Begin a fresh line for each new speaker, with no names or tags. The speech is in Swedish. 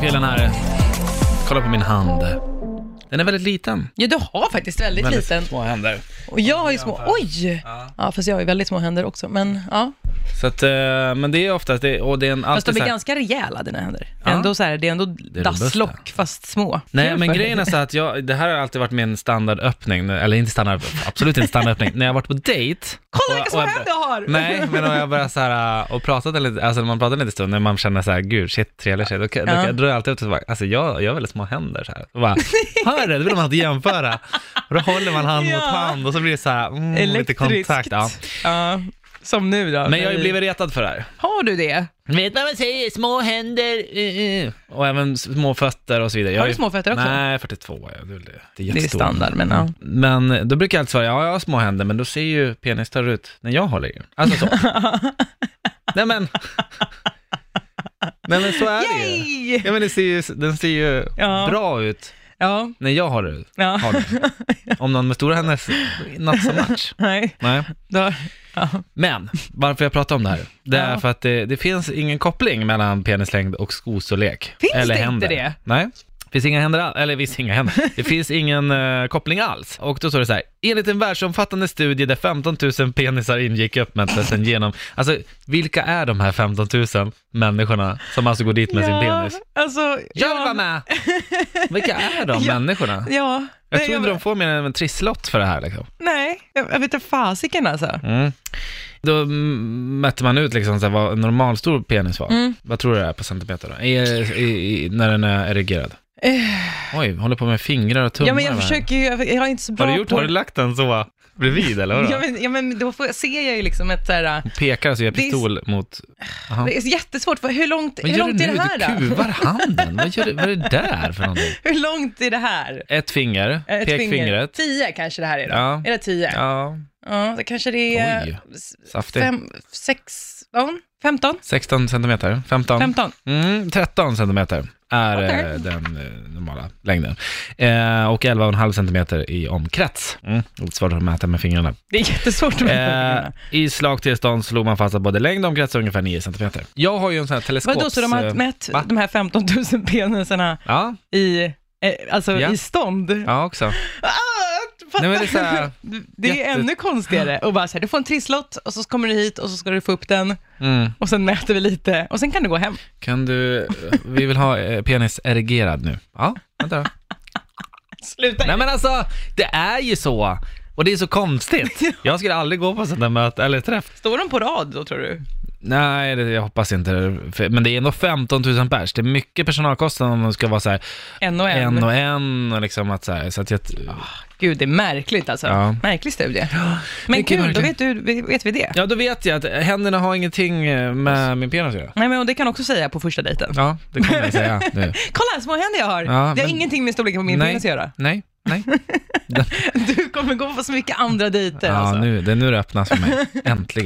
killen här. Kolla på min hand. Den är väldigt liten.
Ja, du har faktiskt väldigt,
Väldigt
liten.
små händer.
Och jag har ju små... Oj!
Ja.
Ja, fast jag har ju väldigt små händer också. Men ja,
Så att, eh, men det är oftast, det, och det är en
fast de
alltid så
är
här-
ganska rejäla dina händer.
Ja.
Ändå så här, det är ändå
är robusta.
dasslock fast små.
Nej,
Kul
men
för dig.
grejen är så att jag, det här har alltid varit min standardöppning, eller inte standard, absolut inte standardöppning, när jag har varit på dejt.
Kolla vilka
och-
små
och jag-
händer jag har!
Nej, men om jag börjar så här äh, och pratat en lite, alltså när man pratar en liten stund, när man känner så här, gud shit, trevlig tjej, då, kan- då,
Ja.
kan- då drar jag alltid upp det så bara, alltså jag, jag har väldigt små händer så här. Och bara, hör du, det vill man alltid jämföra. Och då håller man hand
Ja.
mot hand och så blir det så här, mm, lite
Elektriskt.
kontakt. Ja.
Ja, som nu då.
Men jag har ju blivit retad för det här.
Har du det?
Vet vad man säger? Små händer. eh, eh. Och även små fötter och så vidare. Jag
Har du
ju-
små fötter också?
Nej, 42 är jag. Det är, väl det.
Det är
jättestor.
standard, men ja.
Men då brukar jag alltid svara, ja, jag har små händer, men då ser ju penis större ut när jag håller i den. Alltså så. Nej men. Nej men så är det ju.
Yay!
Ja men det ser ju, den ser ju
Ja.
bra ut
Ja,
när jag har det.
ja.
Har den. Om någon med stora händer, not so much.
Nej,
Nej.
då, ja.
Men varför jag pratar om det här, det är
Ja.
för att det, det finns ingen koppling mellan penislängd och skostorlek.
Finns
eller
det inte
händer.
det?
Nej. Det finns inga händer all- eller visst inga händer. Det finns ingen eh, koppling alls. Och då står det så här, enligt en världsomfattande studie där 15 000 penisar ingick i uppmättelsen genom, alltså vilka är de här 15 000 människorna som alltså går dit med sin penis?
Alltså,
Jag
ja.
vill vara med! Vilka är de
Ja.
människorna?
Ja.
Jag
Nej,
tror inte de får mer än en trisslott för det här liksom.
Nej, jag, jag vet inte fasiken alltså.
Mm. Då mm, mätte man ut liksom så här, vad en normalstor penis var.
Mm.
Vad tror du det är på centimeter då? I, i, i, när den är erigerad? Oj, håller på med fingrar och tummar.
Eh. Ja, men jag
med.
försöker ju, jag, jag är inte så bra
har du gjort,
på...
har du lagt den så bredvid eller vadå?
Ja men, ja, men då får, ser jag ju liksom ett såhär,
Pekar alltså, gör
Det är-
pistol mot... Aha.
det är jättesvårt, för hur långt,
Vad
hur
gör du
långt
nu?
är det här
du
då?
kuvar handen. Vad, gör du, vad är det där för någonting?
Hur långt är det här? Eh,
Ett finger,
Ett
pekfingret.
Tio kanske det här är då?
Ja.
Är det tio? Ja,
Ja,
då kanske det är
Oj.
s-
saftigt.
fem, sexton, femton,
16 centimeter, 15.
femton.
Mm, 13 centimeter är
Okej.
eh, den eh, normala längden. Eh, och 11,5 centimeter i omkrets. Mm, lite svårt att mäta med fingrarna.
Det är jättesvårt att
Eh,
mäta.
I slagtillstånd slog man fast att både längd och omkrets är ungefär 9 centimeter. Jag har ju en sån här teleskops...
Vadå, så de har
eh,
mätt
va?
de här 15 000 penisarna
Ja,
i, eh, alltså
Ja.
i stånd?
ja också.
Ah, fattar
Nej, men det är så här-
du? det är
jätte-
ännu konstigare och bara så här, du får en trisslott och så kommer du hit och så ska du få upp den
Mm.
och sen mäter vi lite och sen kan du gå hem.
Kan du... eh, Vi vill ha eh, penis erigerad nu. Ja, vänta då.
Sluta.
Nej men alltså, det är ju så. Och det är så konstigt. Jag skulle aldrig gå på sådana möten, eller träff.
Står de på rad då tror du?
Nej, det, jag hoppas inte För- Men det är ändå 15 000 pers. Det är mycket personalkostnader om de ska vara så här,
En och en.
en och en och liksom att så här, så att jag,
Gud, det är märkligt alltså.
Ja.
Märklig studie. Men
mycket
kul, då vet,
märkligt.
du, vet vi det.
Ja, då vet jag att händerna har ingenting eh, med min penis att göra.
Nej, men och det kan jag också säga på första dejten.
Ja, det kommer jag säga nu.
Kolla, små händer jag har.
Ja,
det har
men-
ingenting med storleken på min
Nej.
penis att göra.
Nej, nej.
Du kommer gå på så mycket andra dejter
Ja,
alltså.
nu, det är nu det öppnas för mig. Äntligen.